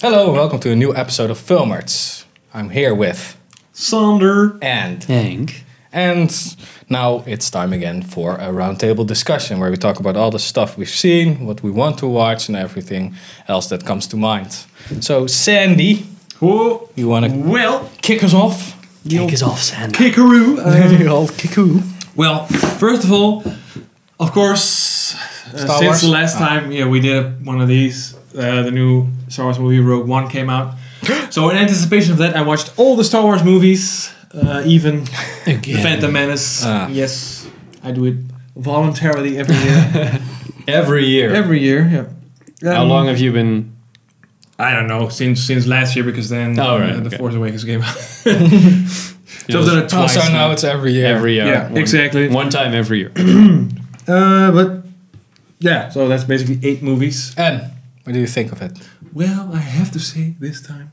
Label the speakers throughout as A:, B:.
A: Hello, welcome to a new episode of Film Arts. I'm here with
B: Sonder.
A: and
C: Hank.
A: and now it's time again for a roundtable discussion where we talk about all the stuff we've seen, what we want to watch, and everything else that comes to mind. So, Sandy,
B: Whoa.
A: you want to
B: Well,
A: kick us off?
C: Kick us off, Sandy.
B: Kickaroo. Uh,
A: old cuckoo.
B: well, first of all, of course, uh,
A: Star
B: since
A: Wars?
B: the last time, yeah, we did one of these. Uh, the new Star Wars movie Rogue One came out. so in anticipation of that, I watched all the Star Wars movies, uh, even The Phantom Menace.
A: Ah.
B: Yes, I do it voluntarily every year.
A: Every year.
B: every year, yeah.
C: How
B: Um,
C: long have you been?
B: I don't know since since last year because then
C: Oh, right,
B: uh, the
C: okay.
B: Force Awakens came out. so
C: Yeah,
B: I've done it
A: Oh,
B: twice.
A: so
B: now.
A: now it's every year.
C: Every year.
B: Yeah,
C: one,
B: exactly.
C: One time every year.
B: Uh, but yeah, so that's basically eight movies.
A: and what do you think of it?
B: Well, I have to say, this time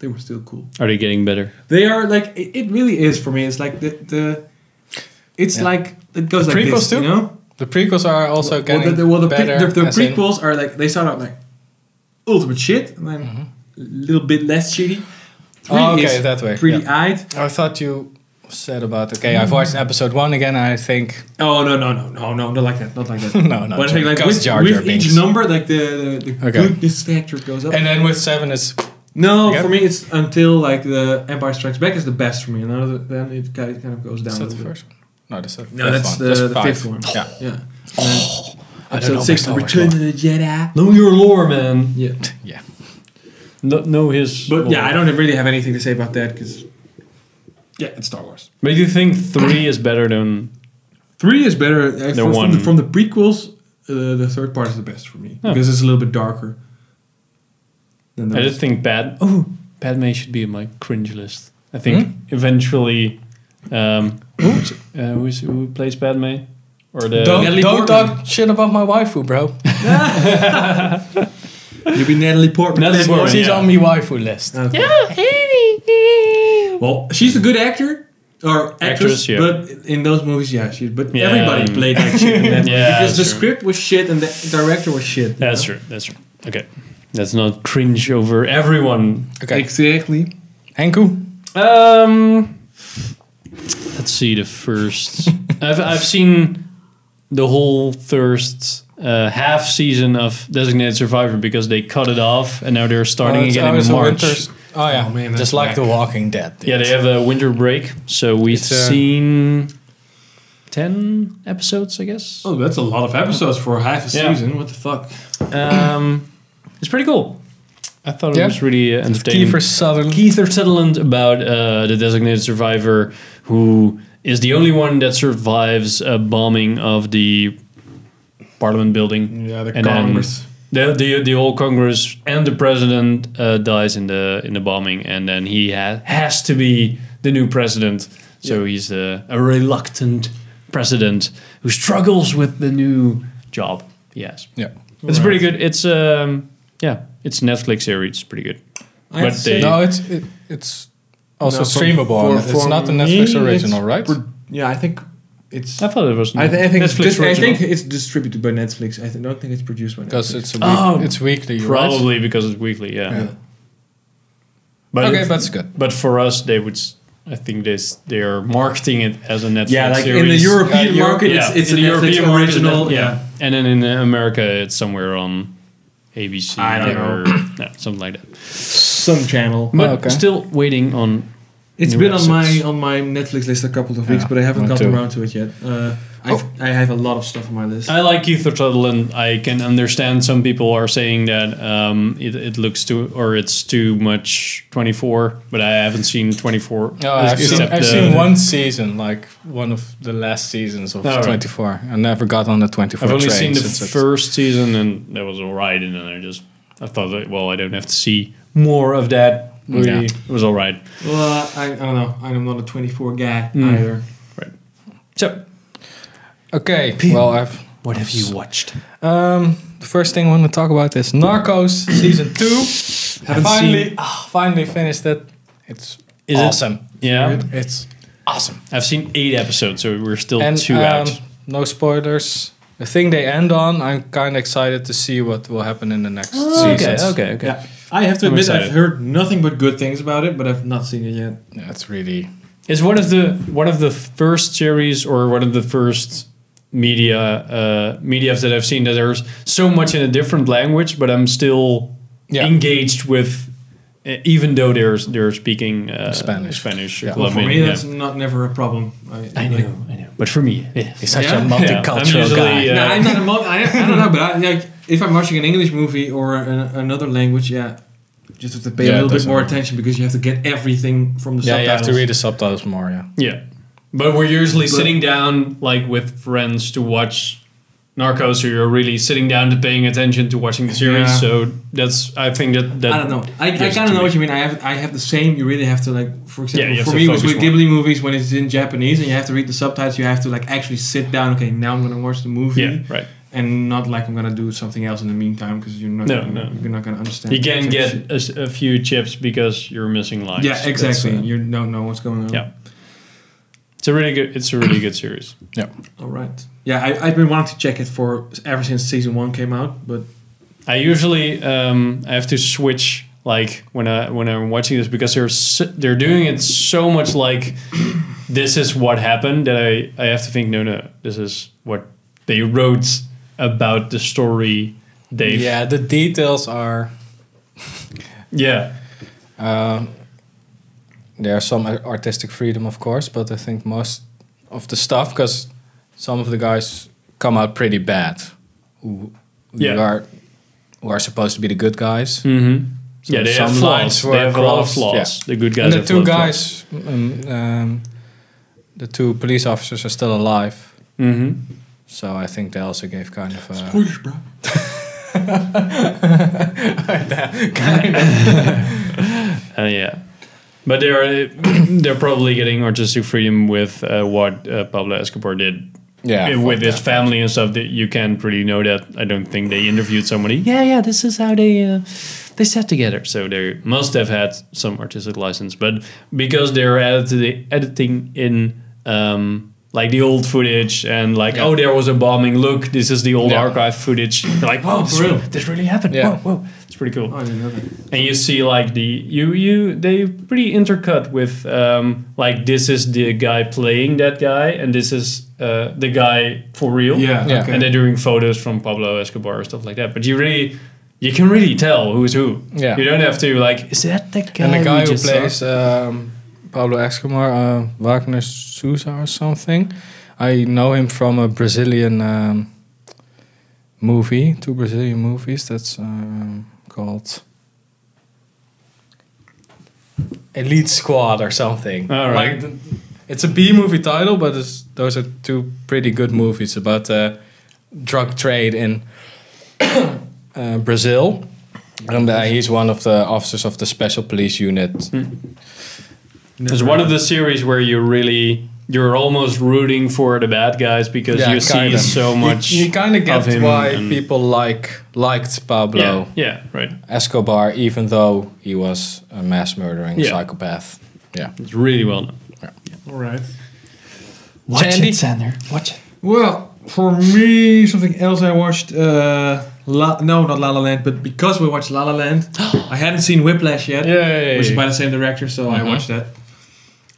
B: they were still cool.
C: Are they getting better?
B: They are like it, it really is for me. It's like the, the it's
A: Yeah.
B: like it goes
A: The
B: like
A: prequels
B: this,
A: too?
B: you know.
A: The prequels are also
B: Well,
A: getting
B: the, the, well, the, pre-
A: better.
B: the, the
A: as in-
B: prequels are like they start out like ultimate shit and then a little bit less shitty. Three
A: Mm-hmm. Oh, okay,
B: is
A: that way.
B: pretty
A: yeah.
B: eyed.
A: I thought you said about okay. I've watched episode one again. and I think
B: Oh no no no no no not like that not like that.
A: no, no.
B: but I
A: Jar-
B: think like
A: goes
B: with,
A: Jar Jar
B: with each
A: Binks.
B: number, like the the, the
A: Okay.
B: goodness factor goes up.
A: And then with seven is
B: No,
A: Yeah.
B: for me it's until like the Empire Strikes Back is the best for me. And other- then it ki- it kind of goes down.
A: is
B: a
A: that the
B: little bit.
A: first one? No, that's the
B: No, that's
A: fifth
B: the,
A: one.
B: the
A: five.
B: fifth one.
A: Yeah.
B: yeah. And then
C: I don't know
B: episode six,
C: my Star Wars
B: Return of the Jedi.
C: Know your lore, man.
B: Yeah,
A: Yeah.
C: No, know his.
B: but
C: lore.
B: yeah, I don't really have anything to say about that because yeah, it's Star Wars.
C: But you think three is better than?
B: Three is better uh, from, from,
C: one.
B: the, from the prequels. Uh, the third part is the best for me
C: Oh.
B: because it's a little bit darker. Than
C: I
B: those.
C: just think bad. Oh, Padme should be on my cringe list. I think eventually. Um, who's- uh, who's, who plays Padme? Or the
A: Don't,
B: Natalie
A: don't
B: Portman.
A: talk shit about my waifu, bro.
B: You'll be Natalie Portman.
C: Natalie
B: Fanboy.
C: Portman.
A: She's
C: yeah.
A: on my waifu list.
B: Okay. Well, she's a good actor or actress,
C: Actress, yeah.
B: but in those movies, yeah, she's. But
C: Yeah,
B: everybody
C: um,
B: played that shit in that movie
C: Yeah,
B: because the
C: that's true.
B: script was shit and the director was shit. you
C: That's
B: know?
C: true. That's true. Okay, let's not cringe over everyone.
A: Okay.
B: Exactly.
A: Henku?
C: Um, let's see the first. I've I've seen the whole first uh, half season of Designated Survivor because they cut it off and now they're starting
A: it's-
C: again
A: oh, it's a
C: in March.
A: winter's- Oh, yeah.
B: Oh, man,
A: Just
B: that's
A: like
B: whack.
A: The Walking Dead. dude.
C: Yeah, they have a winter break, so we've
A: It's, uh,
C: seen ten episodes, I guess.
B: Oh, that's a lot of episodes for half a
C: Yeah.
B: season. What the fuck?
C: Um, it's pretty cool. I thought it
A: Yeah.
C: was really uh, entertaining.
A: Kiefer Sutherland.
C: Keith or Sutherland about uh, the designated survivor who is the only one that survives a bombing of the Parliament building.
B: Yeah, the
C: And then- Congress. The, the, the whole Congress and the president uh, dies in the in the bombing, and then he ha- has to be the new president. So he's a, a reluctant president who struggles with the new job. Yes,
A: Yeah.
C: it's pretty good. It's um yeah, it's Netflix series. It's pretty good.
B: I have
C: But
B: to
C: they-
B: say-
A: No, it's it, it's also
B: No, for-
A: streamable.
B: for-
A: on it. it's
B: for
A: not the
B: me,
A: Netflix
B: it's
A: original, right?
B: pro- yeah, I think it's.
C: I thought it was.
B: I, th- I think it's
C: Netflix
B: dis- I
C: original.
B: think it's distributed by Netflix. I th- don't think it's produced by
A: Because
B: Netflix.
A: it's a week,
C: Oh,
A: it's weekly,
C: Probably because it's weekly, yeah.
A: right? Yeah.
C: But
A: okay,
C: but,
A: that's good.
C: for us, they would. s- I think they s- they are marketing it as a Netflix.
B: yeah, like
C: series.
B: in the European
A: Europe-
B: market,
C: Yeah,
B: it's, it's
C: in
B: a
C: the
B: Netflix
C: European market,
B: original.
C: Netflix,
B: yeah.
C: and then in America, it's somewhere on ABC.
B: I don't know.
C: or,
B: Oh,
C: yeah, something like that.
B: some channel.
C: But
A: okay.
C: still waiting on.
B: It's
C: New
B: been
C: episodes.
B: on my on my Netflix list a couple of weeks,
A: Yeah,
B: but I haven't
A: mine
B: gotten
A: too.
B: around to it yet. Uh, I've, I have a lot of stuff on my list.
C: Oh. I like Keith Sutherland. I can understand some people are saying that um, it, it looks too or it's too much 24, but I haven't seen 24.
A: No, Oh, I've, seen,
C: except
A: I've
C: Oh, the-
A: seen one season, like one of the last seasons of
C: Oh, right.
A: 24. I never got on the 24
C: I've only
A: train
C: seen the
A: since it's-
C: first season, and that was all right. And then I just I thought, like, well, I don't have to see more of that. Really,
A: Mm, Yeah.
C: it was all right.
B: well, uh, I, I don't know. I'm not a 24 guy
C: Hmm.
B: either.
C: So,
A: Okay, well, I've.
C: what have you watched?
A: Um, the first thing I want to talk about is Narcos season two. I
B: Haven't
A: finally,
B: seen-
A: ah, finally finished it. It's
C: Is it-
A: awesome.
C: Yeah,
A: It's awesome.
C: I've seen eight episodes, so we're still
A: And
C: two
A: um,
C: out.
A: no spoilers. The thing they end on, I'm kind of excited to see what will happen in the next season.
C: Oh, okay, okay.
B: Yeah. I have to
C: I'm
B: admit, I've
C: excited.
B: heard nothing but good things about it, but I've not seen it yet.
A: Yeah, it's really
C: It's one of the one of the first series or one of the first media uh, media that I've seen that there's so much in a different language, but I'm still
A: Yeah.
C: engaged with, uh, even though they're they're speaking uh,
A: Spanish.
C: Spanish.
A: Yeah.
C: Well,
B: Well,
C: I
B: for
C: mean,
B: me,
C: yeah.
B: that's not never a problem. I,
C: I
B: like-
C: know, I know. But for me, yeah.
A: he's such
B: Yeah?
A: a
B: Yeah,
A: multicultural
C: I'm usually,
A: guy.
C: uh,
B: No, I'm not a mul- I, I don't know, but I, like if I'm watching an English movie or an, another language, yeah, just have to pay
A: Yeah, it
B: a little bit
A: doesn't
B: more
A: matter.
B: attention because you have to get everything from the
A: yeah,
B: subtitles.
A: you have to read the subtitles more. Yeah,
C: Yeah. But we're usually
B: But-
C: sitting down like with friends to watch Narcos, so you're really sitting down to paying attention to watching the series.
B: Yeah.
C: So that's I think that, that
B: I don't know. I, I
C: gives
B: kind
C: it to
B: of know
C: me.
B: what you mean. I have I have the same. You really have to like, for
C: Yeah,
B: example,
C: you have
B: for
C: to
B: me it was
C: focus
B: with Ghibli movies when it's in Japanese and you have to read the subtitles. You have to like actually sit down. Okay, now I'm gonna watch the movie
C: Yeah, right.
B: and not like I'm gonna do something else in the meantime because you're not
C: No,
B: gonna,
C: no.
B: you're not gonna understand.
C: You can
B: the
C: get
B: context.
C: a, s- a few chips because you're missing lines.
B: yeah exactly.
C: That's, uh,
B: you don't know what's going on.
C: yeah. It's a really good. It's a really good series.
B: All right. Yeah, I, I've been wanting to check it for ever since season one came out, but
C: I usually um, I have to switch like when I when I'm watching this because they're s they're doing it so much like this is what happened that I I have to think no no this is what they wrote about the story they
A: yeah. The details are
C: yeah
A: Um, there's some ar- artistic freedom, of course, but I think most of the stuff, because some of the guys come out pretty bad, who, who
C: Yeah.
A: are who are supposed to be the good guys.
C: mm-hmm. yeah they have
A: some
C: flaws
A: lines were
C: they have a lot of
A: crossed,
C: flaws
A: yeah.
C: the good guys
A: And the
C: have
A: two
C: a lot of
A: guys, um, um, the two police officers, are still alive.
C: flaws. Mhm.
A: So I think they also gave kind of a
B: spoilers, bro.
C: Uh, yeah. But they're they're probably getting artistic freedom with uh, what uh, Pablo Escobar did
A: yeah
C: Uh, with
A: fuck
C: his
A: that.
C: family and stuff. That you can't really know that. I don't think they interviewed somebody. Yeah, yeah. This is how they uh, they sat together. So they must have had some artistic license. But because they're edit- editing in. Um, like the old footage and like
A: Yeah.
C: oh there was a bombing look this is the old
A: Yeah.
C: archive footage like whoa this,
B: For real.
C: this really happened
A: Yeah.
C: whoa whoa it's pretty cool
B: Oh, I didn't know that.
C: and you see like the you you they pretty intercut with um like this is the guy playing that guy and this is uh the guy for real
B: Yeah,
A: Yeah.
B: okay.
C: and they're doing photos from Pablo Escobar or stuff like that but you really you can really tell who's who
A: Yeah.
C: you don't have to like is that the guy
A: And the guy
C: we
A: who
C: just saw?"
A: plays um, Pablo Escobar, uh, Wagner Sousa or something, I know him from a Brazilian um, movie, two Brazilian movies. That's um, called Elite Squad or something.
C: All right.
A: Like th- it's a B movie title, but it's, those are two pretty good movies about uh, drug trade in uh, Brazil. And uh, he's one of the officers of the special police unit.
C: it's one of the series where you really you're almost rooting for the bad guys because
A: Yeah,
C: you see
A: kinda.
C: so much
A: You, kind of get
C: of him
A: why
C: and-
A: people like liked Pablo
C: yeah yeah right
A: Escobar, even though he was a mass murdering
C: Yeah.
A: psychopath. Yeah.
C: it's really well done
B: All right.
A: Watch it, Sandy.
C: Sander watch it
B: Well, for me, something else I watched. Uh, La- no, not La La Land, but because we watched La La Land, I hadn't seen Whiplash yet,
A: Yay!
B: which is by the same director, so I
A: Mhm.
B: watched that.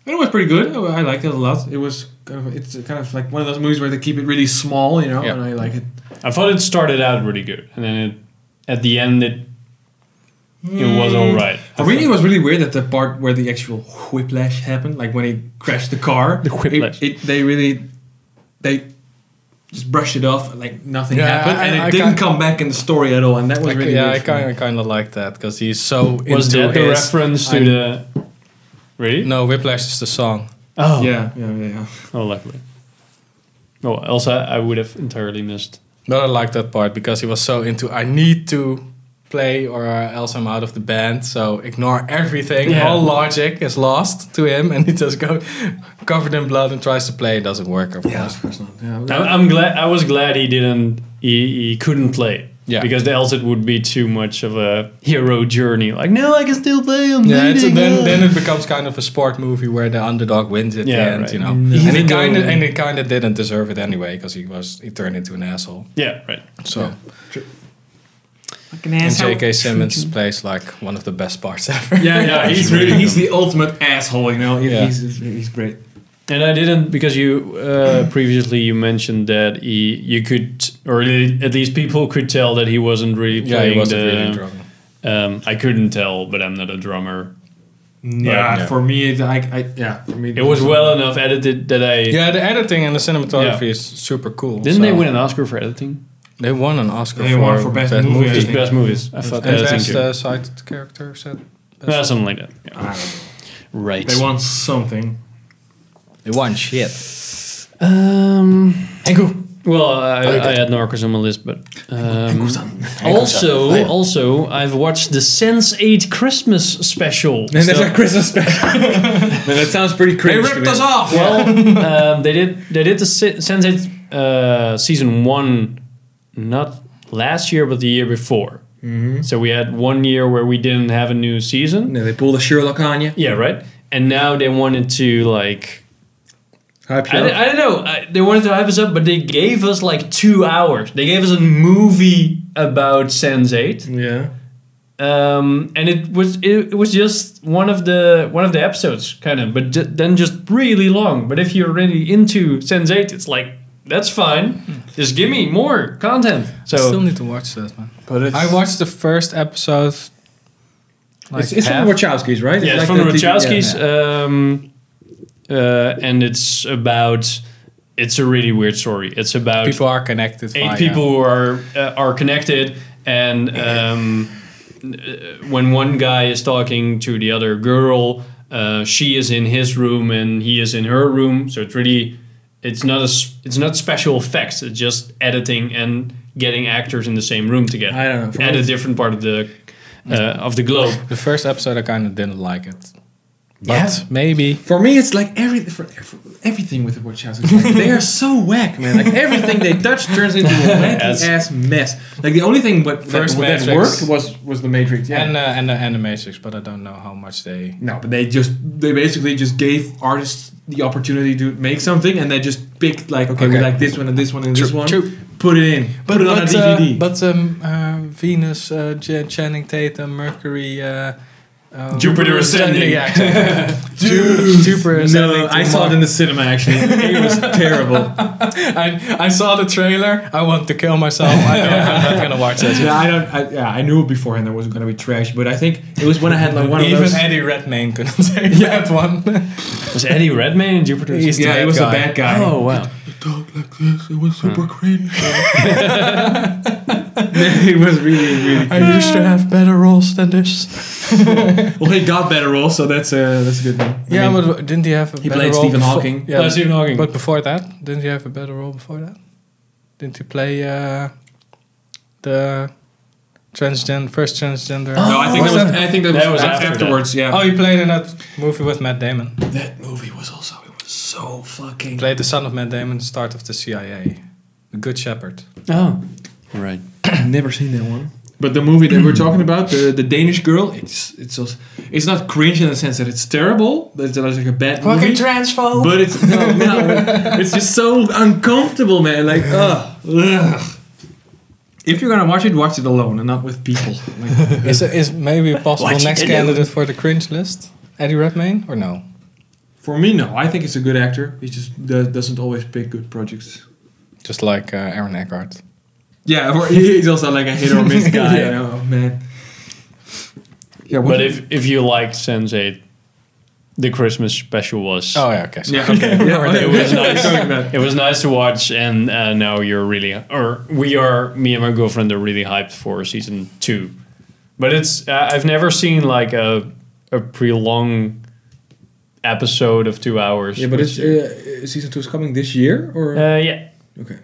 B: And it was pretty good. I I liked it a lot. It was kind of it's kind of like one of those movies where they keep it really small, you know,
A: Yeah.
B: and I like it.
C: I thought it started out really good, and then it, at the end it it was all right.
B: For me, it was really weird that the part where the actual whiplash happened, like when he crashed the car,
C: The
B: It,
C: whiplash.
B: it, they really, they just brushed it off like nothing
A: Yeah,
B: happened,
A: I-
B: and it
A: I
B: didn't
A: can't-
B: come back in the story at all, and that was
A: I,
B: really
A: yeah, I
B: weird for me.
A: kind of kind of like that because he's so
C: was
A: into
C: that the
A: his-
C: reference to
A: I'm-
C: the really?
A: No, Whiplash is the song.
C: Oh,
B: Yeah, yeah, yeah, yeah.
C: Oh, luckily. Oh, else I, I would have entirely missed.
A: But I like that part because he was so into I need to play or else I'm out of the band. So ignore everything.
C: Yeah.
A: All logic is lost to him, and he just goes covered in blood and tries to play. It doesn't work, of
B: Yeah,
A: course.
B: of course not. Yeah,
C: I'm, I'm glad. I was glad he didn't. He, he couldn't play.
A: Yeah.
C: Because else it would be too much of a hero journey. Like no, I can still play. I'm
A: Yeah, it's,
C: leading,
A: then
C: uh.
A: then it becomes kind of a sport movie where the underdog wins at
C: Yeah,
A: the end,
C: right.
A: you know.
B: No.
A: And he
B: Even
A: kind of
B: though-
A: and he kind of didn't deserve it anyway because he was he turned into an asshole.
C: yeah, right.
A: So
B: Like an
A: And
B: asshole.
A: J.K. Simmons plays like one of the best parts ever.
B: Yeah, yeah, he's
C: He's
B: really
C: really
B: he's the ultimate asshole. You know, He-
A: Yeah.
B: he's he's great.
C: And I didn't because you uh, previously you mentioned that he you could or at least people could tell that he wasn't really
A: yeah,
C: playing
A: he wasn't
C: the.
A: really drunk.
C: um, I couldn't tell, but I'm not a drummer.
B: Yeah,
A: yeah.
B: for me, it, I, I yeah, for me,
C: It was well enough edited that I
A: Yeah, the editing and the cinematography
C: Yeah.
A: is super cool.
C: didn't. They
A: so-
C: win an Oscar for editing.
A: They won an Oscar
B: They
A: for,
B: won for best movie, I
C: Just
B: think.
C: best movies. I thought
A: And
C: editing
A: best
C: too.
A: uh, side character said.
C: Yeah, something like that. Yeah.
B: I don't know.
C: Right.
B: They want something.
A: They won shit.
C: Um.
A: Engu.
C: Well, I,
A: Oh, you
C: I
A: got-
C: had Narcos on my list, but um,
B: And
C: also,
A: Oh, yeah.
C: also, I've watched the Sense Eight Christmas special.
B: there's a Christmas special. Man, that sounds pretty crazy.
A: ripped us off!
C: Well, um, they did they did the Se- Sense Eight uh, season one, not last year, but the year before. So we had one year where we didn't have a new season.
B: they pulled a Sherlock on you.
C: Yeah, right. And now they wanted to like
B: Hype you
C: I,
B: up.
C: don't- I don't know. I, they wanted to hype us up, but they gave us like two hours. They gave us a movie about Sense Eight.
B: yeah.
C: um, and it was it, it was just one of the one of the episodes kind of but ju- then just really long but if you're really into sense 8 it's like that's fine just give me more content
A: I still
C: so
A: need to watch that, man.
B: But it's,
A: I watched the first episode. Like
B: it's, it's
A: half.
B: from Wachowskis, right?
C: yeah
B: It's
C: it's
B: like
C: from
B: the TV
C: Wachowski's um, uh, and it's about it's a really weird story it's about
A: people are connected.
C: eight
A: via-
C: people who are uh, are connected, and um, uh, when one guy is talking to the other girl, uh, she is in his room and he is in her room. So it's really it's not a s- it's not special effects. It's just editing and getting actors in the same room together
B: I don't know. For
C: at
B: me-
C: a different part of the uh, of the globe.
A: The first episode, I kind of didn't like it. But
C: Yeah.
A: maybe.
B: For me, it's like every, for, for everything with the Wachowskis. Like, they are so whack, man. Like everything they touch turns into a wacky
C: Yes.
B: ass mess. Like the only thing what, that,
A: First
B: that
A: Matrix.
B: worked was was the Matrix. Yeah.
A: And uh, and the animatrix, but I don't know how much they.
B: No, but they just they basically just gave artists the opportunity to make something, and they just picked like okay, we
A: Okay.
B: like this one and this one and this
A: True,
B: one.
A: true.
B: Put it in. put it on a DVD.
A: but um, uh, Venus, uh, J- Channing Tatum, Mercury. Uh, uh,
C: Jupiter Ascending.
A: Yeah, exactly. Ju- Jupiter Ascending.
B: no, I
A: to
B: saw it
A: Mars.
B: in the cinema actually. it was terrible.
A: I, I saw the trailer. I want to kill myself. I don't, I'm not gonna watch that.
B: yeah, I don't. I, yeah, I knew beforehand that was gonna be trash, but I think it was when I had like one of
A: Even
B: those.
A: Eddie Redmayne couldn't say that one.
C: Was Eddie Redmayne in Jupiter?
A: He's the
B: yeah,
A: bad
B: he was
A: guy.
B: a bad guy.
C: Oh wow!
B: talk like this. It was super cringe. it was really, really.
A: I used to have better roles than this.
B: Well, he got better roles, so that's uh, that's a good one.
A: Yeah, but didn't he have a
B: he
A: better
B: played
A: role
B: Stephen
A: befo-
B: Hawking.
A: Yeah,
C: Oh, Stephen Hawking.
A: But before that, didn't he have a better role before that? Didn't he play uh, the transgender first transgender?
B: no, I think
A: Was
B: that Oh, was, I think that, was,
C: That was
B: af-
C: after that.
B: afterwards. Yeah.
A: Oh, he played in that movie with Matt Damon. He
B: That movie was also it was so fucking.
A: played the son of Matt Damon, start of the CIA, the Good Shepherd.
C: Oh, right.
B: Never seen that one. But the movie that we're talking about, the, the Danish girl, it's it's also, it's not cringe in the sense that it's terrible. That it's like a bad movie.
A: transphobe.
B: but it's no, no, it's just so uncomfortable, man. Like, ugh, ugh. If you're gonna watch it, watch it alone and not with people. Like,
A: Is is maybe a possible
C: Watch it
A: next
C: alone.
A: candidate for the cringe list? Eddie Redmayne or no?
B: for me, no. I think it's a good actor. He just do- doesn't always pick good projects.
A: Just like uh, Aaron Eckhart.
B: Yeah, or he's also like a hit or miss guy.
A: Yeah.
B: You know, oh, man. Yeah, what-
C: But if if you liked Sense Eight, the Christmas special was
A: Oh yeah, okay. sorry.
B: yeah, okay, yeah, okay.
C: It was nice.
B: Sorry about that.
C: It was nice to watch, and uh, now you're really, or we are, me and my girlfriend are really hyped for season two. But it's, uh, I've never seen like a a pre long episode of two hours.
B: Yeah, but it's uh, season two is coming this year, or
C: uh, yeah,
B: okay.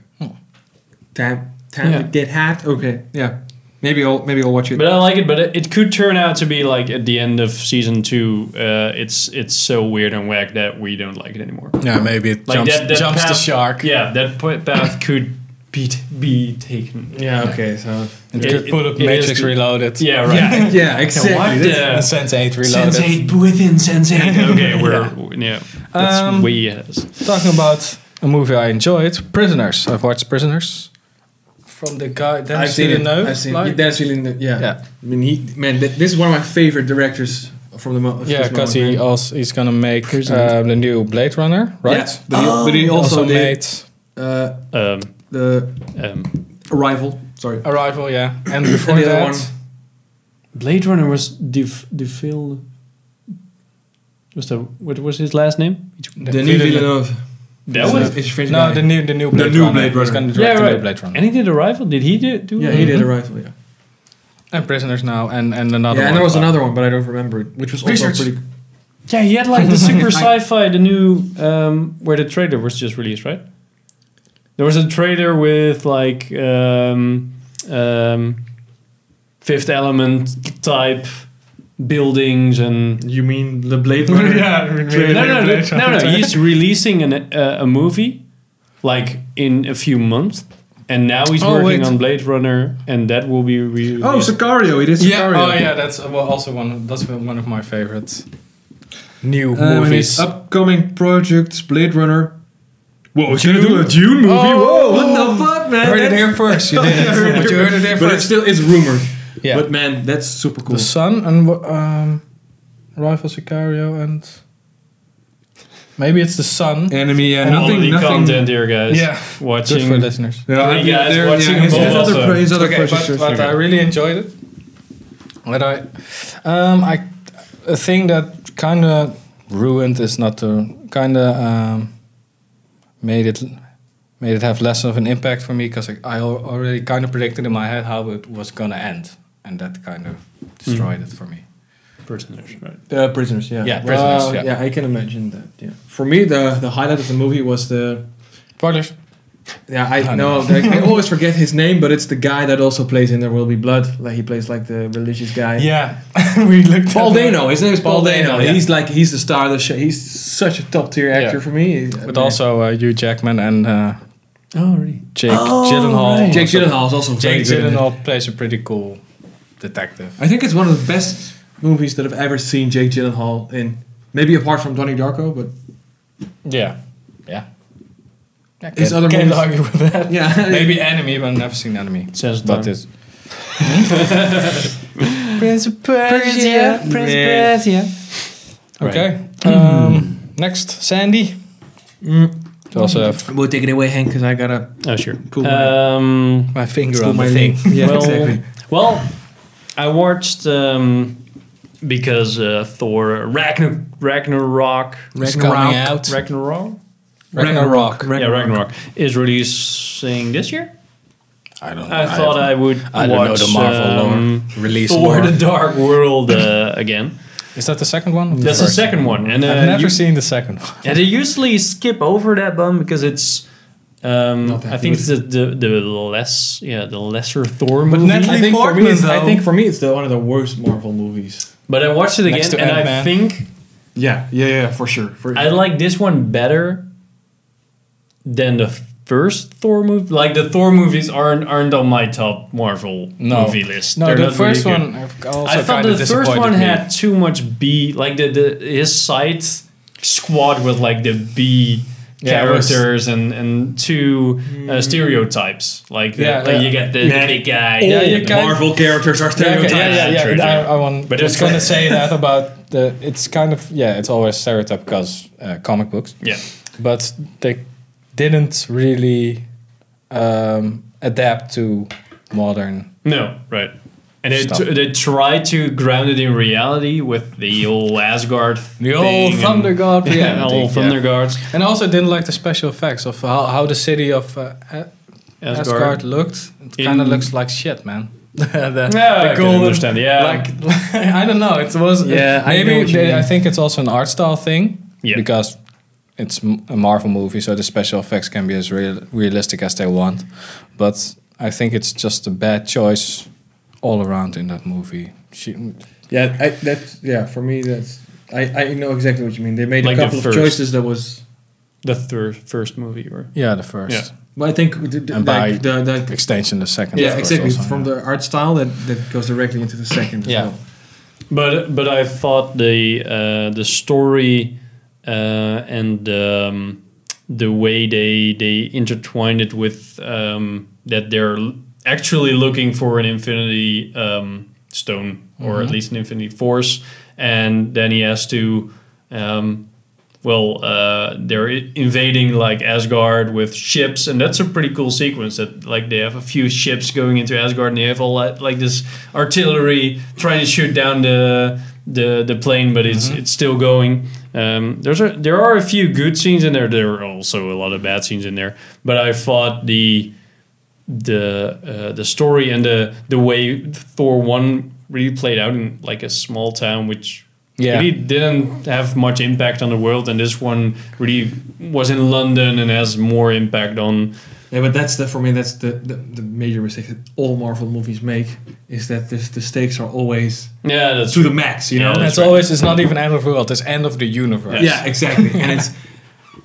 B: Time, time
C: Yeah.
B: to get hot. Okay, yeah. Maybe I'll maybe I'll watch it.
C: but I like it. But it, it could turn out to be like at the end of season two, uh, it's it's so weird and whack that we don't like it anymore.
A: Yeah, maybe it
C: Like
A: jumps,
C: that- that
A: jumps the
C: path-
A: shark.
C: Yeah, that po- path could be t- be taken.
B: yeah. Okay. So
A: It,
C: It-
A: could
C: it-
A: pull up
C: it is
A: Matrix
C: the-
A: Reloaded.
C: Yeah, right.
B: yeah, exactly.
C: What
B: That's-
C: the-
A: And Sense 8 Reloaded.
C: Sensate within Sensate. okay, we're yeah. that's
A: Um,
C: way ahead.
A: Talking about a movie I enjoyed, Prisoners. I've watched Prisoners. from the guy Dennis Villeneuve?
B: I've seen
A: like?
B: Dennis Villeneuve. Yeah.
A: Yeah.
B: I mean, he man, th- this is one of my favorite directors from the mo- of
A: Yeah,
B: this
A: because
B: moment,
A: he
B: man.
A: also he's gonna make
C: Prisoners.
A: um, the new Blade Runner, right?
B: Yeah, but, he, but he
A: He
C: Oh.
B: also,
A: also
B: did
A: made
B: uh,
C: Um,
B: the
C: um,
B: Arrival. Sorry.
A: Arrival, yeah, and before
B: the other
A: that,
B: one.
C: Blade Runner was Def Defil. Was the what was his last name?
A: the
B: Denis Villeneuve.
C: That
B: Is-
C: was-
B: is a French
A: no,
B: guy.
A: the new the new Blade
B: new
A: Runner.
B: Blade
A: He's
B: Runner.
A: gonna direct
C: Yeah,
A: the new
C: right.
A: Blade Runner
C: Uh, And he did Arrival. Did he do? do
B: yeah, he did
C: Mhm.
B: Arrival. Yeah.
A: and Prisoners now, and and another. one.
B: yeah, and there was another one, but I don't remember it, which was also
A: Research.
B: pretty.
C: Yeah, he had like the super sci-fi, the new um, where the trailer was just released, right? There was a trailer with like um, um, Fifth Element type buildings and.
B: You mean the Blade Runner?
C: No, no, no,
A: Blade
C: no, no.
A: Runner.
C: He's releasing an, uh, a movie like in a few months, and now he's
A: Oh,
C: working
A: wait.
C: on Blade Runner, and that will be re-
B: Oh, Sicario. It is Sicario.
A: Yeah, oh yeah, that's uh, well, also one. That's been one of my Uh, favorite new
B: Um,
A: movies.
B: Upcoming projects, Blade Runner. Whoa,
A: he's gonna do a
B: Dune movie?
A: Whoa,
B: what the fuck, man?
A: Oh. heard it
B: That's-
A: here first. You did
B: Yeah,
A: it, but you heard it here
B: But it's
A: first.
B: still, it's rumored.
A: Yeah,
B: But man, that's super cool.
A: the Sun and wha- um, Rifle Sicario and maybe it's the Sun.
B: Enemy, yeah,
C: Quality
B: nothing, nothing.
C: content here, guys.
A: Yeah,
C: watching
A: good for listeners.
B: Yeah,
C: Hey, guys,
B: there-
C: watching
B: yeah, his,
C: Boba
B: his other,
C: Fett.
B: his other
A: okay,
B: projects
A: but,
B: are-
A: but uh, I really enjoyed it. But I, um, I, a thing that kind of ruined is not to kind of um, made it made it have less of an impact for me because I, I al- already kind of predicted in my head how it was gonna end, and that kind of destroyed it for me.
C: prisoners, right?
B: Uh, prisoners, yeah.
A: Yeah,
B: Well,
A: Prisoners, yeah.
B: I can imagine that. Yeah. For me, the the highlight of the movie was the
A: Spoilers.
B: yeah I
A: I
B: know like, I always forget his name, but it's the guy that also plays in There Will Be Blood. Like he plays like the religious guy.
A: Yeah, we looked.
B: Paul
A: at it.
B: Dano. His name is Paul,
A: Paul
B: Dano.
A: Dano, yeah.
B: He's like he's the star of the show. He's such a top tier actor
A: Yeah.
B: for me.
A: but also uh, Hugh Jackman and uh,
C: Oh, really?
A: Jake Gyllenhaal.
C: right.
B: Jake Gyllenhaal is also very
A: Jake
B: good in it.
A: Gyllenhaal plays a pretty cool detective.
B: I think it's one of the best movies that I've ever seen Jake Gyllenhaal in. Maybe apart from Donnie Darko, but
A: Yeah, yeah. yeah
B: His
A: can't,
B: other
A: can't
B: movies-
A: argue with that.
B: yeah,
A: Maybe Enemy, but I've never seen Enemy.
C: Sense
A: But
C: time.
A: this. Prince of Persia.
B: Prince Yeah.
A: Okay. Um, next, Sandy. Mm. To also have
B: We'll take it away, Hank, because I gotta
C: Oh, sure.
B: Cool.
C: Um,
A: my finger
B: pull
A: on
B: my
A: the thing.
B: link. Yeah,
C: well,
B: exactly.
C: well, I watched um, because uh, Thor Ragnar Ragnarok
A: It's
B: Ragnarok.
A: coming out.
C: Ragnarok
A: Ragnarok.
C: yeah Ragnarok is releasing this year.
A: I don't.
C: I, thought I would
A: I don't know
C: watch
A: the Marvel
C: um,
A: lore. Release
C: Thor:
A: lore.
C: The Dark World uh, again.
A: Is that the second one? or
C: That's the
A: first?
C: second one, and uh,
A: I've never
C: you-
A: seen the second one.
C: Yeah, they usually skip over that one because it's. Um,
B: Not that
C: I think it's the, the the less yeah the lesser Thor
A: But
C: movie.
A: Natalie
B: I think, for
A: Portman,
B: me, it's, I
A: though.
B: think for me, it's the, one of the worst Marvel movies.
C: but I watched it
A: Next
C: again,
A: to
C: and I
A: Ant-Man.
C: think
B: Yeah, yeah, yeah, for sure. For,
C: I like this one better than the first Thor movie. Like the Thor movies aren't aren't on my top Marvel
A: No.
C: movie list.
A: No,
C: They're
A: the
C: not really
A: first
C: good.
A: one. I've also
C: I thought
A: kinda
C: the first
A: disappointed
C: one
A: me.
C: had too much B, like the, the his side squad with like the B
A: Yeah, it was- Mm.
C: characters and and two uh, stereotypes. Like, the-
A: Yeah,
C: like
A: yeah.
C: you get the
B: Yeah.
C: big guy,
A: Yeah, you
C: the
A: can-
B: Marvel characters are
A: Yeah, okay,
B: stereotypes.
A: yeah, yeah, yeah.
C: True,
A: but I,
C: true.
A: I want,
C: But
A: was
C: it's-
A: going to say that about the. It's kind of yeah. It's always stereotype because uh, comic books,
C: yeah.
A: but they didn't really um, adapt to modern.
C: No, right. And they,
A: Stuff.
C: t- they try to ground it in reality with the old Asgard,
A: The old
C: thing
A: Thunder
C: and,
A: God
C: yeah,
A: reality,
C: old Thunder
A: yeah.
C: Gods,
A: And I also didn't like the special effects of how, how the city of uh, A-
C: Asgard.
A: Asgard. looked. It
C: In-
A: kind of looks like shit, man. the,
C: Yeah, I
A: the
C: can understand. Yeah,
A: like I don't know. It was uh,
B: Yeah, I know
A: maybe
B: what you
A: they-
B: mean.
A: I think it's also an art style thing
C: Yeah.
A: because it's m- a Marvel movie, so the special effects can be as real, realistic as they want. But I think it's just a bad choice all around in that movie. She,
B: Yeah, I, that's yeah. For me, that's I, I know exactly what you mean. They made a
C: Like the
B: couple of
C: first.
B: choices that was.
C: the thir- first movie, or
A: yeah, the first
B: But I think the, the,
A: And by-
B: like the, the
A: extension, the second. of
B: yeah,
A: course,
B: exactly
A: also,
B: from
A: yeah.
B: the art style that, that goes directly into the second. as
A: Yeah.
B: well.
C: But but I thought the uh, the story uh, and um, the way they they intertwined it with um, that they're l- actually looking for an Infinity um, Stone or at least an Infinity Force, and then he has to. Um, well, uh, they're i- invading like Asgard with ships, and that's a pretty cool sequence. That like they have a few ships going into Asgard, and they have all that, like this artillery trying to shoot down the the, the plane, but it's it's still going. Um, there's a, there are a few good scenes in there. There are also a lot of bad scenes in there. But I thought the the uh, the story and the the way Thor one really played out in like a small town, which
A: Yeah.
C: really didn't have much impact on the world, and this one really was in London and has more impact on.
B: Yeah, but that's the for me. That's the, the, the major mistake that all Marvel movies make is that this, the stakes are always
C: Yeah, that's
B: to the max. You
C: Yeah,
B: know.
C: that's
A: It's
C: right.
A: always it's not even end of the world. It's end of the universe.
B: Yeah, exactly. and it's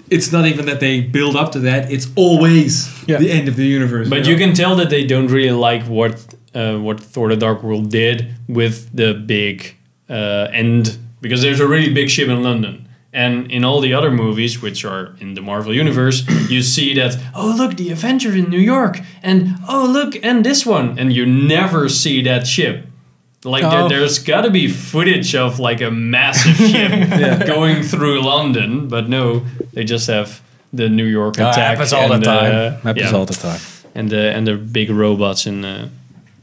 B: it's not even that they build up to that. It's always
A: Yeah.
B: the end of the universe.
C: But you can tell that they don't really like what uh, what Thor: The Dark World did with the big uh, end because there's a really big ship in London. And in all the other movies, which are in the Marvel universe, you see that oh look the Avenger in New York, and oh look and this one, and you never see that ship. Like
A: Oh.
C: there, there's got to be footage of like a massive ship going through London, but no, they just have the New York
A: Ah,
C: attack.
A: happens all the
C: and,
A: time.
C: uh,
A: happens
C: yeah
A: all the time.
C: and the and the big robots in. Uh,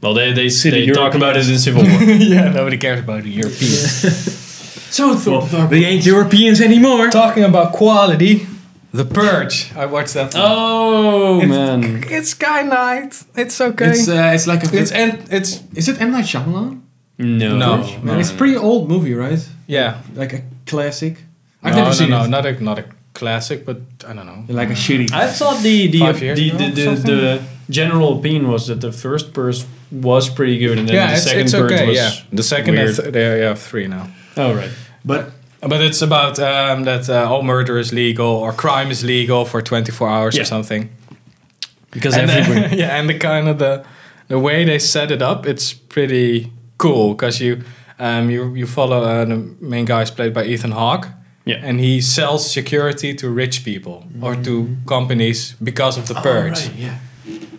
C: well, they they,
A: City
C: they talk
A: Europe.
C: about it in Civil War.
A: yeah, nobody cares about the Europeans.
C: so Thor.
B: they ain't Europeans anymore.
A: Talking about quality, The Purge. I watched that.
C: Oh man,
A: It's Sky Night. It's okay.
B: It's
A: It's,
B: uh, it's like a
A: it's and it's
B: is it M Night Shyamalan?
C: no,
A: No.
B: Man, it's a pretty old movie, right?
A: yeah.
B: Like a classic. I've
A: no,
B: never
A: no,
B: seen
A: no,
B: it.
A: not a not a classic, but I don't know.
B: Like a shitty.
C: I thought the the
A: Five
C: the,
A: years
C: the,
A: ago,
C: the, the,
A: something?
C: general opinion was that the first burst was pretty good, and then
A: yeah,
C: the
A: it's,
C: second
A: it's
C: burst
A: okay.
C: was
A: Yeah, the second
C: weird.
A: and th- they have three now.
C: oh right.
B: but
A: But it's about um, that uh, all murder is legal or crime is legal for 24 hours
C: Yeah.
A: or something.
C: Because
A: and
C: everyone,
A: the, yeah, and the kind of the the way they set it up, it's pretty cool because you um you you follow uh, the main guy is played by Ethan Hawke.
C: Yeah.
A: and he sells security to rich people or to companies because of the purge,
B: yeah.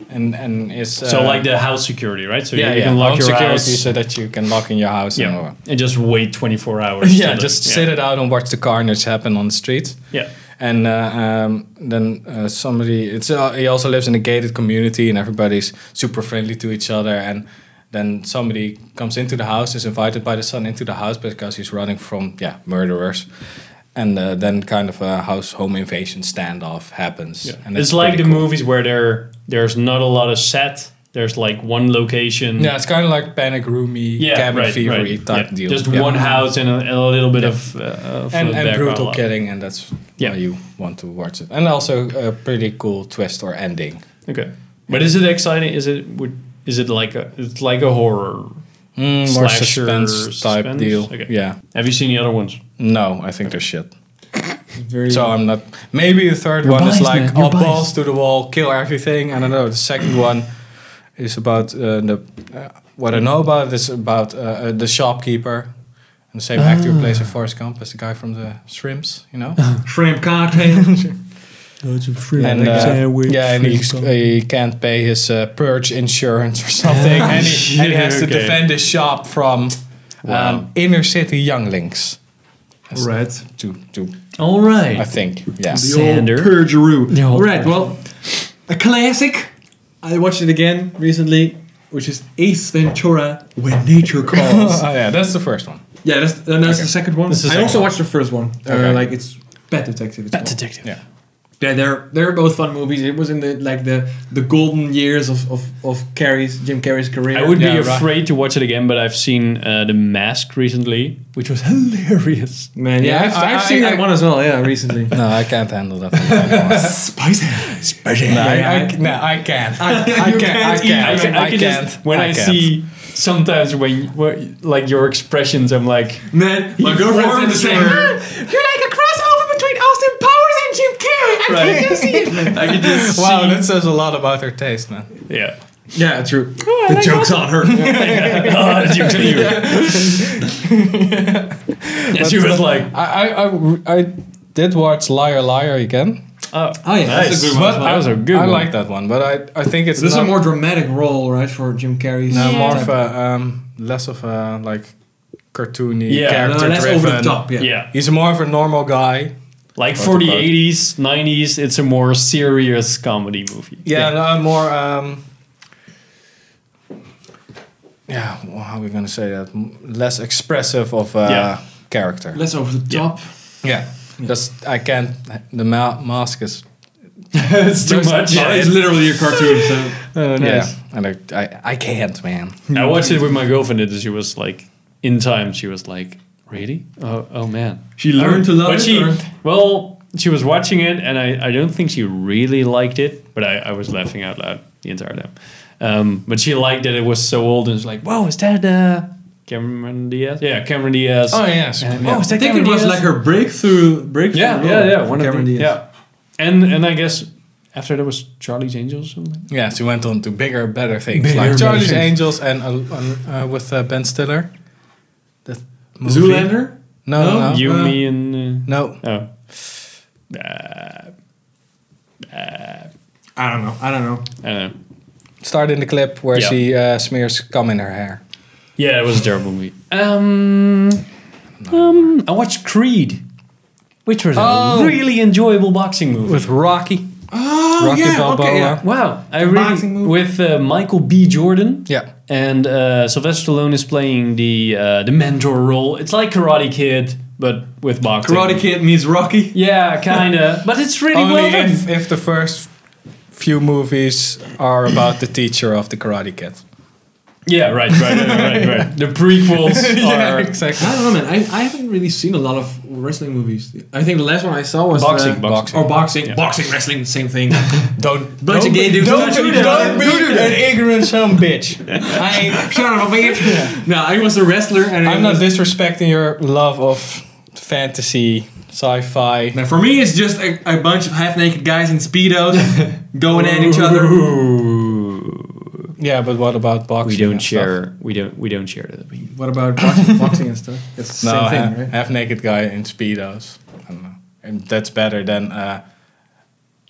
A: and and it's uh,
C: so like the house security, right? So
A: yeah,
C: you, you
A: yeah,
C: can lock
A: home
C: your
A: security
C: house.
A: so that you can lock in your house. and all
C: Yeah,
A: that.
C: and just wait 24 hours.
A: yeah,
C: till the-
A: just
C: yeah.
A: sit it out and watch the carnage happen on the streets.
C: Yeah,
A: And uh, um, then uh, somebody, it's uh, he also lives in a gated community, and everybody's super friendly to each other. And then somebody comes into the house, is invited by the son into the house because he's running from yeah murderers. And uh, then kind of a house home invasion standoff happens.
C: Yeah.
A: And
C: it's, like the
A: pretty cool.
C: movies where there there's not a lot of set. There's like one location.
A: Yeah, it's kind of like panic roomy,
C: Yeah,
A: cabin
C: right,
A: fever
C: right.
A: type
C: Yeah.
A: deal.
C: Just
A: Yeah.
C: one house and a, and a little bit of, uh,
A: and,
C: of uh,
A: and
C: background
A: brutal
C: lava.
A: killing, and that's
C: Yeah.
A: why you want to watch it. And also a pretty cool twist or ending. Mm,
C: Okay, but is it exciting? Is it would is it like a it's like a horror?
A: Mm, more
C: Slasher
A: suspense type
C: suspense?
A: deal.
C: Okay.
A: Yeah.
C: Have you seen the other ones?
A: No, I think they're shit.
B: Very
A: So I'm not. Maybe the 3rd
C: You're
A: one
C: biased,
A: is like
C: man. You're
A: all balls
C: biased.
A: to the wall, kill everything. I don't know. The second one is about uh, the. Uh, what I know about it is about uh, uh, the shopkeeper. And the same actor who plays
C: Ah.
A: in Forrest Gump as the guy from the Shrimps, you
C: Uh-huh.
A: know.
B: shrimp cocktail.
A: and uh, yeah, and he's, he can't pay his uh, purge insurance or something, and, he, and he has to
C: Okay.
A: defend his shop from um, inner city younglings. That's
B: Red.
A: To, to,
C: All right.
A: I think, yeah.
B: The
C: Sander.
B: old Perjuru.
C: The old
B: All right, well, a classic. I watched it again recently, which is Ace Ventura: When Nature Calls.
A: Oh, yeah, that's the first one.
B: yeah, that's, uh, that's the second one.
C: the
B: I
C: second
B: also
C: one.
B: watched the first one. Uh,
A: Okay.
B: Like it's Pet Detective. It's
C: Bat
B: called.
C: Detective.
A: Yeah.
B: Yeah, they're they're both fun movies. It was in the like the the golden years of of of Carrey's Jim Carrey's career.
C: I would
A: Yeah,
C: be
A: right.
C: afraid to watch it again, but I've seen uh, The Mask recently, which was hilarious.
B: man. Yeah,
A: Yeah,
B: I've,
A: I-
B: I've seen
A: I-
B: that one as well. Yeah, recently.
A: No, I can't handle that. one.
B: Spicy. Spicy.
A: no,
B: Yeah,
A: I, I,
B: I-
A: no, I can't. I,
B: You
A: can't. I
B: can't
A: can't.
C: I can, I
A: I
C: can
A: can't.
C: just when I,
A: can't.
C: see sometimes when, when like your expressions, I'm like
B: Man, my girlfriend's in the
C: forms
B: same.
C: your-
B: You're like a crossover between Austin Powers and Jim Carrey. I
C: Right.
B: just see it.
C: I can just
A: Wow,
C: see-
A: that says a lot about her taste, man.
C: yeah.
B: Yeah, true. the joke's on her.
C: oh, that's you too. And she was like,
A: I, I, I, I did watch Liar Liar again.
C: Oh,
B: Oh, yeah, that's a
C: nice.
B: good one as well.
C: That was a good
A: I
C: one.
A: like that one, but I I think it's
B: This is a
A: not-
B: more dramatic role, right, for Jim Carrey's
A: no,
D: Yeah.
A: more of
B: type.
A: a, um, less of a like cartoony
B: no,
C: Yeah, no,
A: character
B: that's
A: driven.
B: over the top. Yeah.
C: Yeah.
A: He's more of a normal guy.
C: Like
A: What
C: for the
A: about-
C: 80s, 90s, it's a more serious comedy movie.
A: Yeah, No, more. Um, yeah, well, how are we gonna say that? M- Less expressive of uh,
C: Yeah.
A: character.
B: Less over the
C: Yeah.
B: top.
A: yeah, that's I can't. The ma- mask is
C: it's too
A: There's-
C: much.
A: Yeah,
B: it's literally a cartoon. So.
C: Oh, nice.
A: yeah, and I, I I can't, man.
C: I watched it with my girlfriend, and she was like, in time, she was like, really? Oh, oh man.
B: She learned to love
C: but
B: it,
C: She,
B: or-
C: well, she was watching it, and I, I don't think she really liked it, but I, I was laughing out loud the entire time. Um, but she liked that it was so old, and was like, whoa, is that uh, Cameron Diaz? Yeah, Cameron Diaz.
A: Oh yes,
C: And-
A: yeah.
C: oh, is
B: I
C: that
B: think it
C: Cameron
B: was
C: Diaz?
B: like her breakthrough. breakthrough
C: Yeah,
B: role
C: yeah, yeah.
B: for
C: One of
B: Cameron
C: the,
B: Diaz.
C: yeah. And and I guess after there was Charlie's Angels. or something?
A: Yeah, she went on to bigger, better things
C: Bigger,
A: like
C: better
A: Charlie's
C: things.
A: Angels and uh, uh, with uh, Ben Stiller. That movie.
B: Zoolander?
A: No, no,
B: No?
A: no.
C: You,
B: uh,
C: me, and
A: No.
C: uh, oh,
B: I don't know. I don't know.
C: I don't know.
A: Start in the clip where
C: Yeah.
A: she uh, smears cum in her hair.
C: Yeah, it was a terrible movie. Um, um, I watched Creed, which was
A: Oh.
C: a really enjoyable boxing movie.
A: With Rocky.
B: Oh,
A: Rocky
B: yeah,
A: Balboa.
B: okay, yeah.
C: wow, I really
B: boxing movie?
C: with uh, Michael B. Jordan.
A: Yeah.
C: and uh, Sylvester Stallone is playing the uh, the mentor role. It's like Karate Kid, but with boxing.
B: Karate Kid meets Rocky.
C: Yeah, kinda, but it's really
A: Only
C: well done.
A: if, if the first few movies are about the teacher of the Karate Kid.
C: Yeah, right, right, right, right, right, right. The prequels
A: yeah,
C: are
A: exactly.
B: I don't know, man. I, I haven't really seen a lot of wrestling movies. I think the last one I saw was
C: boxing,
B: uh,
C: boxing.
A: boxing.
B: or boxing,
C: Yeah.
B: boxing, wrestling, same thing.
A: Don't,
B: Bunch
A: don't,
B: of gay dudes.
A: don't,
B: Don't
A: don't,
B: do that.
A: be
B: Don't do
A: an
B: that.
A: ignorant son bitch.
B: I shut up, man. No, I was a wrestler, and it
A: I'm not
B: was-
A: disrespecting your love of fantasy, sci-fi.
B: Man, for me, it's just a, a bunch of half-naked guys in speedos going at each other.
C: Ooh.
A: Yeah, but what about boxing?
C: We don't
A: and stuff?
C: share. We don't. We don't share that. opinion.
B: What about boxing, boxing and stuff? It's the
A: No,
B: same
A: half,
B: thing, right?
A: half naked guy in speedos. I don't know. And that's better than uh,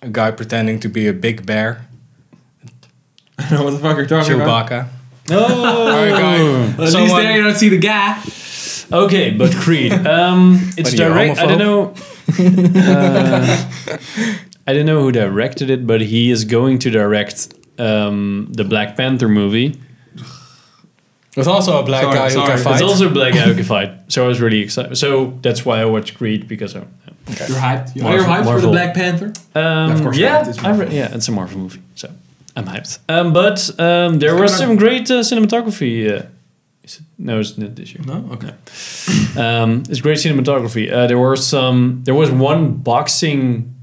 A: a guy pretending to be a big bear,
B: I don't know what the fuck you're talking about.
A: Chewbacca.
C: Oh.
A: Or a guy,
B: At least there you
A: someone,
B: don't see the guy.
C: Okay, but Creed. Um, it's
A: What are you,
C: direct. I don't know. uh, I don't know who directed it, but he is going to direct um, the Black Panther movie.
A: was also a black
B: Sorry,
A: guy who
B: sorry.
A: can
B: It's
A: fight.
C: It's also Black Guy Who Can Fight. So I was really excited. So that's why I watched Creed because I'm.
B: You're hyped. You're,
C: Marvel-
B: you're hyped for the
C: Marvel.
B: Black Panther.
C: Um,
B: Of course not,
C: yeah,
B: it's
C: I re-
B: Marvel.
C: yeah, it's a Marvel movie, so I'm hyped. Um, but um, there was some great uh, cinematography. Uh, is it, no, it's not this year.
B: No, okay.
C: Um, it's great cinematography. Uh, there were some. There was one boxing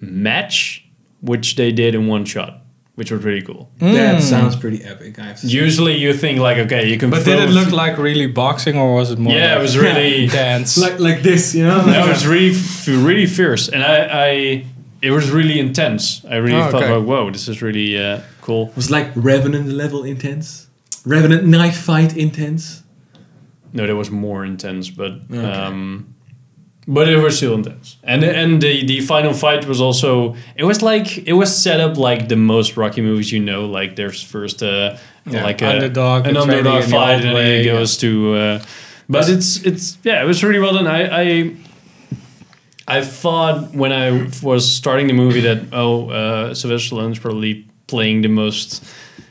C: match which they did in one shot, which was really cool.
B: That sounds pretty epic. I have to say.
C: Usually, you think like, okay, you can.
A: but
C: throw
A: did it
C: a
A: look
C: f-
A: like really boxing or was it more?
C: Yeah,
A: like
C: it was really.
A: dance.
B: Like like this, you know?
C: that was really f- really fierce, and I, I it was really intense. I really
A: Oh,
C: felt
A: okay.
C: like, whoa, this is really uh, cool.
B: was like Revenant level intense. Revenant knife fight intense.
C: No, that was more intense, but
B: Okay.
C: um, but it was still intense. And and the the final fight was also it was like it was set up like the most Rocky movies you know. Like there's first uh,
A: Yeah,
C: like a,
A: underdog,
C: an
A: a trading
C: underdog
A: in the
C: fight,
A: old
C: and
A: way,
C: then it
A: yeah.
C: goes to. Uh, but it's it's yeah, it was really well done. I. I I thought when I was starting the movie that oh, uh, Sylvester Stallone's probably playing the most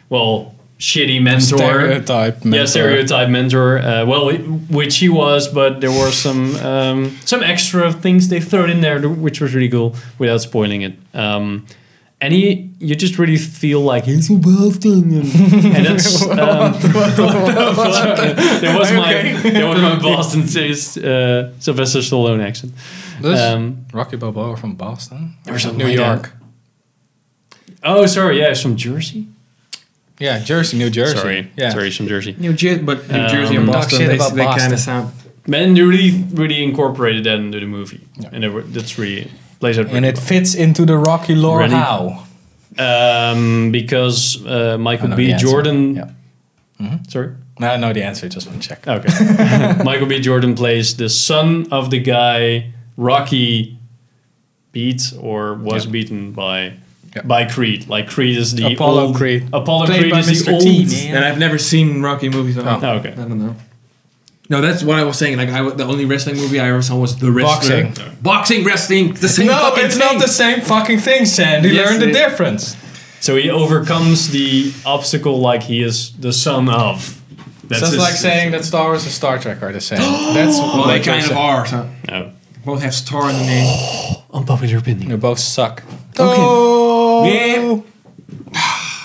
C: well shitty mentor,
A: stereotype. mentor.
C: yeah, stereotype mentor. Uh, well, it- which he was, but there were some um, some extra things they thrown in there, which was really cool without spoiling it. Um, and he, you just really feel like he's involved in him. and that's um, that was my that was my Boston uh, Sylvester Stallone accent.
A: This-
C: Um,
A: Rocky Balboa from Boston
C: Or something
A: New
C: like that.
A: York.
C: oh, sorry, yeah, it's from Jersey.
A: Yeah, Jersey, New Jersey.
C: Sorry,
A: yeah.
C: sorry, it's from Jersey.
B: New Jersey, but New Jersey
C: Um,
B: and
A: Talk
B: Boston,
A: shit
B: they,
A: about
B: they kind
A: Boston.
B: of sound.
C: Man, they really really incorporated that into the movie, and it, wa- that's really plays out.
A: And
C: really
A: it
C: well.
A: fits into the Rocky lore.
C: Ready?
A: How?
C: Um, because uh,
A: I
C: Michael
A: know
C: B.
A: the answer.
C: Jordan.
A: Yeah.
C: Sorry. Ah,
A: No, I know the answer. Just want to check.
C: Okay. Michael B. Jordan plays the son of the guy Rocky beat or was
A: Yeah.
C: beaten by
A: Yeah.
C: by Creed. Like Creed is the
A: Apollo
C: old,
A: Creed.
C: Apollo
A: Played
C: Creed
A: by
C: is the
A: Mr.
C: old.
A: T, man.
B: And I've never seen Rocky movies. So
A: Oh.
C: Oh, okay.
B: I don't know. No, that's what I was saying. Like, I, w- the only wrestling movie I ever saw was The Wrestler.
A: Boxing.
B: Boxing, wrestling, the same
A: No,
B: fucking
A: it's
B: thing.
A: not the same fucking thing, Sandy.
B: Yes,
A: Learn the
B: it-
A: difference.
C: So he overcomes the obstacle like he is the son of. That's
A: That's
C: his-
A: like saying that Star Wars and Star Trek are the same. That's
B: Well,
A: what
B: Oh, they
A: I'm
B: kind of
A: saying.
B: are. So
C: No.
B: both have star in the name.
C: Oh, Unpopular opinion.
A: They both suck.
B: Oh. Yeah.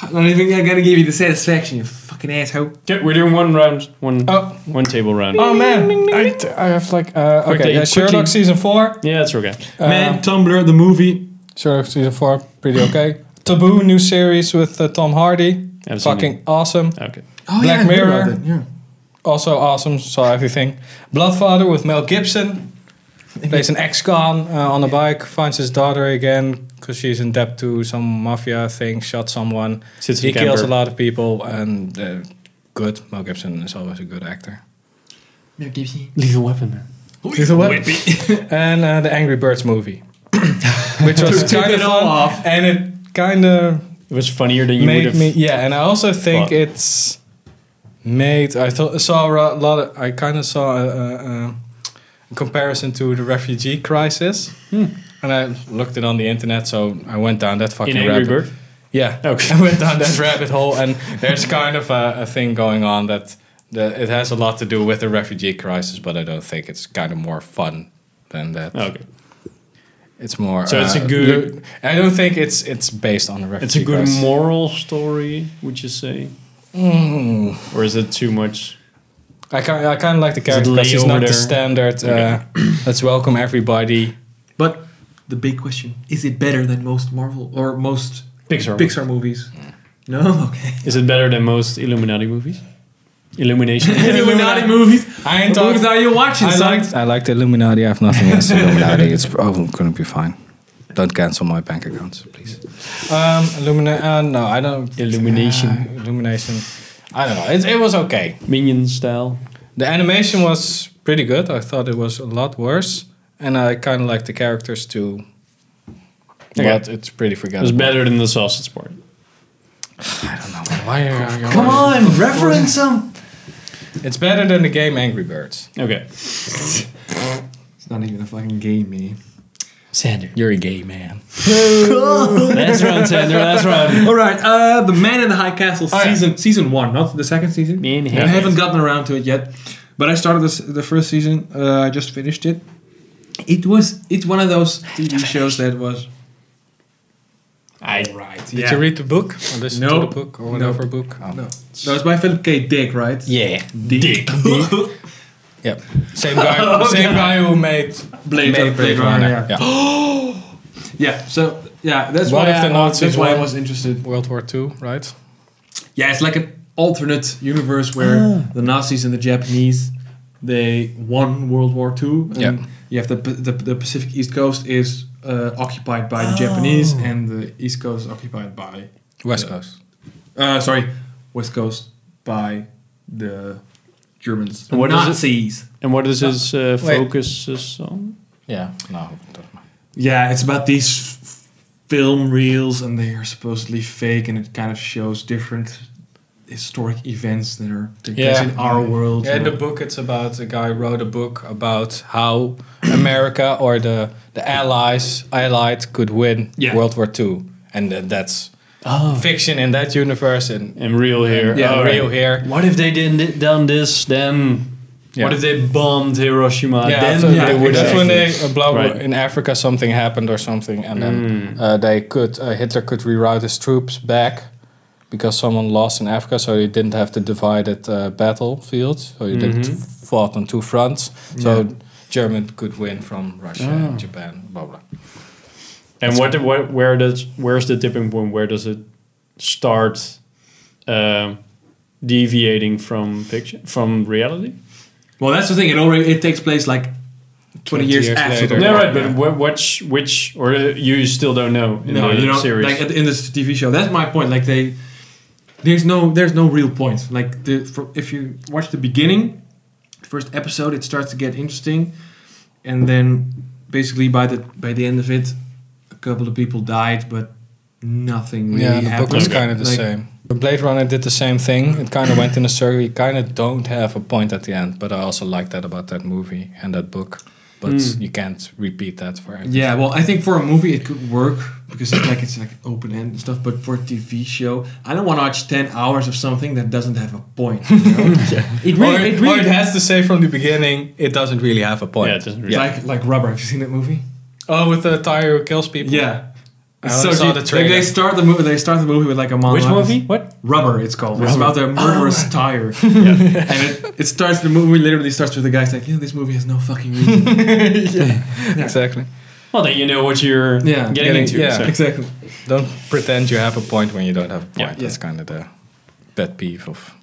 B: I'm not even gonna give you the satisfaction, you fucking asshole.
C: Oh. Okay, we're doing one round, one
A: Oh.
C: one table round.
A: Oh man, I, I have like uh,
C: Quickly,
A: okay. Yeah, Sherlock
C: quickly.
A: season four.
C: Yeah, that's okay.
A: Uh,
B: Man, Tumblr, the movie.
A: Sherlock season four, pretty okay. Taboo new series with uh, Tom Hardy,
C: Haven't seen
A: fucking awesome.
C: Okay.
B: Oh,
A: Black
B: I heard about
A: Mirror.
B: that, Yeah.
A: Also awesome. Saw everything. Bloodfather with Mel Gibson. Plays an ex-con uh, on a bike. Finds his daughter again because she's in debt to some mafia thing. Shot someone.
C: Sits in
A: he
C: camper.
A: kills a lot of people and uh, good. Mel Gibson is always a good actor.
B: Mel Gibson.
C: Lethal Weapon, man.
A: Lethal Weapon. and uh, the Angry Birds movie, which was
B: Took
A: kind
B: it
A: of
B: all
A: fun,
B: off.
A: and it kind of
C: It was funnier than you would
A: made
C: have.
A: me. Yeah, and I also think
C: thought.
A: it's made. I thought saw a lot. Of, I kind of saw a, a, a comparison to the refugee crisis,
C: Hmm.
A: and I looked it on the internet. So I went down that fucking
C: in Angry
A: rabbit.
C: Bird.
A: Yeah.
C: Okay.
A: I went down that rabbit hole, and there's kind of a, a thing going on that the, it has a lot to do with the refugee crisis, but I don't think it's kind of more fun than that.
C: Oh, Okay.
A: It's more.
C: So it's a good-
A: lu- I don't think it's it's based on a refugee.
C: It's a good
A: crisis.
C: moral story, would you say?
A: Hmm.
C: Or is it too much?
A: I kind I kind of like the character
C: lay
A: because he's
C: over
A: not
C: there?
A: the standard.
C: Okay.
A: Uh, let's welcome everybody.
B: But the big question is it better than most Marvel or most
C: Pixar.
B: Pixar movies? No? Okay.
C: Is it better than most Illuminati movies? Illumination.
B: Illuminati movies.
A: I ain't
B: What
A: talking-
B: movies are you watching,
A: I
B: son?
A: liked I liked Illuminati. I have nothing against Illuminati. It's probably going to be fine. Don't cancel my bank accounts, please. Um, Illumina- uh, no, I don't.
C: Illumination.
A: Uh, illumination. I don't know. It, it was okay.
C: Minion style.
A: The animation was pretty good. I thought it was a lot worse, and I kind of like the characters too.
C: Okay.
A: But it's pretty
C: It
A: forgettable.
C: was better than the sausage part.
A: I don't know. Why are you
B: Come on, reference them.
A: It's better than the game Angry Birds.
C: Okay.
B: It's not even a fucking game, man.
C: Sander.
A: You're a gay man.
C: Last round, Sander. Last round.
B: All right, uh, the Man in the High Castle
A: Oh, yeah.
B: season season one, not the second season.
C: Man in
B: I
C: High
B: haven't gotten around to it yet, but I started this the first season. Uh, I just finished it. It was it's one of those TV shows that was
C: I right.
A: Did you read the book? Or listen to
B: Nope.
A: the book? Or whatever book? Oh.
B: no, that was by Philip K. Dick, right?
A: Yeah.
C: Dick.
A: Yep. Same guy. Same guy who made
B: Blade,
A: made
B: Runner, Blade Runner, Yeah. Yeah, So yeah, that's
A: What
B: why
A: if
B: I,
A: the Nazis
B: that's why I
A: won?
B: was interested.
A: World War Two, right?
B: Yeah, it's like an alternate universe where the Nazis and the Japanese they won World War Two. and
A: Yeah.
B: You have the, the the Pacific East Coast is uh, occupied by the Japanese, and the East Coast is occupied by
A: West
B: Yeah.
A: Coast.
B: uh, sorry, West Coast by the Germans.
C: And what is it?
B: Nazis.
C: And what is his uh,
A: Wait.
C: focus is on?
A: Yeah. No. doesn't matter.
B: Yeah, it's about these f- film reels, and they are supposedly fake, and it kind of shows different historic events that are taking place
A: Yeah.
B: in our world.
A: Yeah, in
B: you
A: the
B: know.
A: book, it's about a guy wrote a book about how America or the the allies allied could win
B: Yeah.
A: World War Two, and then that's
C: Oh.
A: fiction in that universe and
C: And real here.
A: Oh, yeah,
C: All
A: real
C: right.
A: here.
C: What if they didn't di- done this? Then
A: Yeah.
C: what if they bombed Hiroshima?
A: yeah,
C: then
A: after-
B: yeah,
C: Uh, they would
A: that's
C: have-
A: when they uh, blah, blah,
C: Right.
A: in Africa something happened or something, and then uh, they could uh, Hitler could reroute his troops back because someone lost in Africa, so he didn't have the divided uh, battlefield, so he didn't fought on two fronts, so. German could win from Russia and Japan, blah blah.
C: And what, what where does where's the tipping point? Where does it start um, deviating from fiction from reality?
B: Well, that's the thing. It already it takes place like twenty,
A: 20
B: years,
A: years
B: after.
A: later.
B: The
C: No,
B: war.
C: right, but wh- which which or uh, you still don't know in
B: no,
C: the
B: you know,
C: series.
B: like at- in this TV show. That's my point. Like they, there's no there's no real point. Like the for, if you watch the beginning, the first episode, it starts to get interesting, and then basically by the by the end of it, couple of people died, but nothing really
A: yeah, the book
B: happened.
A: was kind of the
B: Like,
A: same. But Blade Runner did the same thing. It kind of went in a circle. You kind of don't have a point at the end. But I also like that about that movie and that book. But
C: Mm.
A: you can't repeat that for everything.
B: Yeah, well, I think for a movie it could work because it's like it's like open end and stuff. But for a TV show, I don't want to watch ten hours of something that doesn't have a point. You know? It
A: or,
B: really, it
A: or
B: really
A: it has to say from the beginning, it doesn't really have a point.
C: Yeah, it doesn't really-
A: Yeah.
B: Like like rubber. Have you seen that movie?
A: oh, with the tire who kills people.
B: Yeah.
A: I only saw
B: you-
A: the
B: they-
A: trailer.
B: They start the movie. They start the movie with like a monologue.
C: Which movie? What?
B: Rubber, Oh, it's called. It's about the murderous tire. and it, it starts. The movie literally starts with the guy saying, "Yeah, this movie has no fucking reason."
A: exactly.
C: Well, then you know what you're
B: Yeah,
C: getting,
A: getting-
C: into.
A: yeah.
C: so.
B: exactly.
A: Don't pretend you have a point when you don't have a point.
C: Yeah.
A: That's
B: Yeah.
A: kind of the pet peeve of.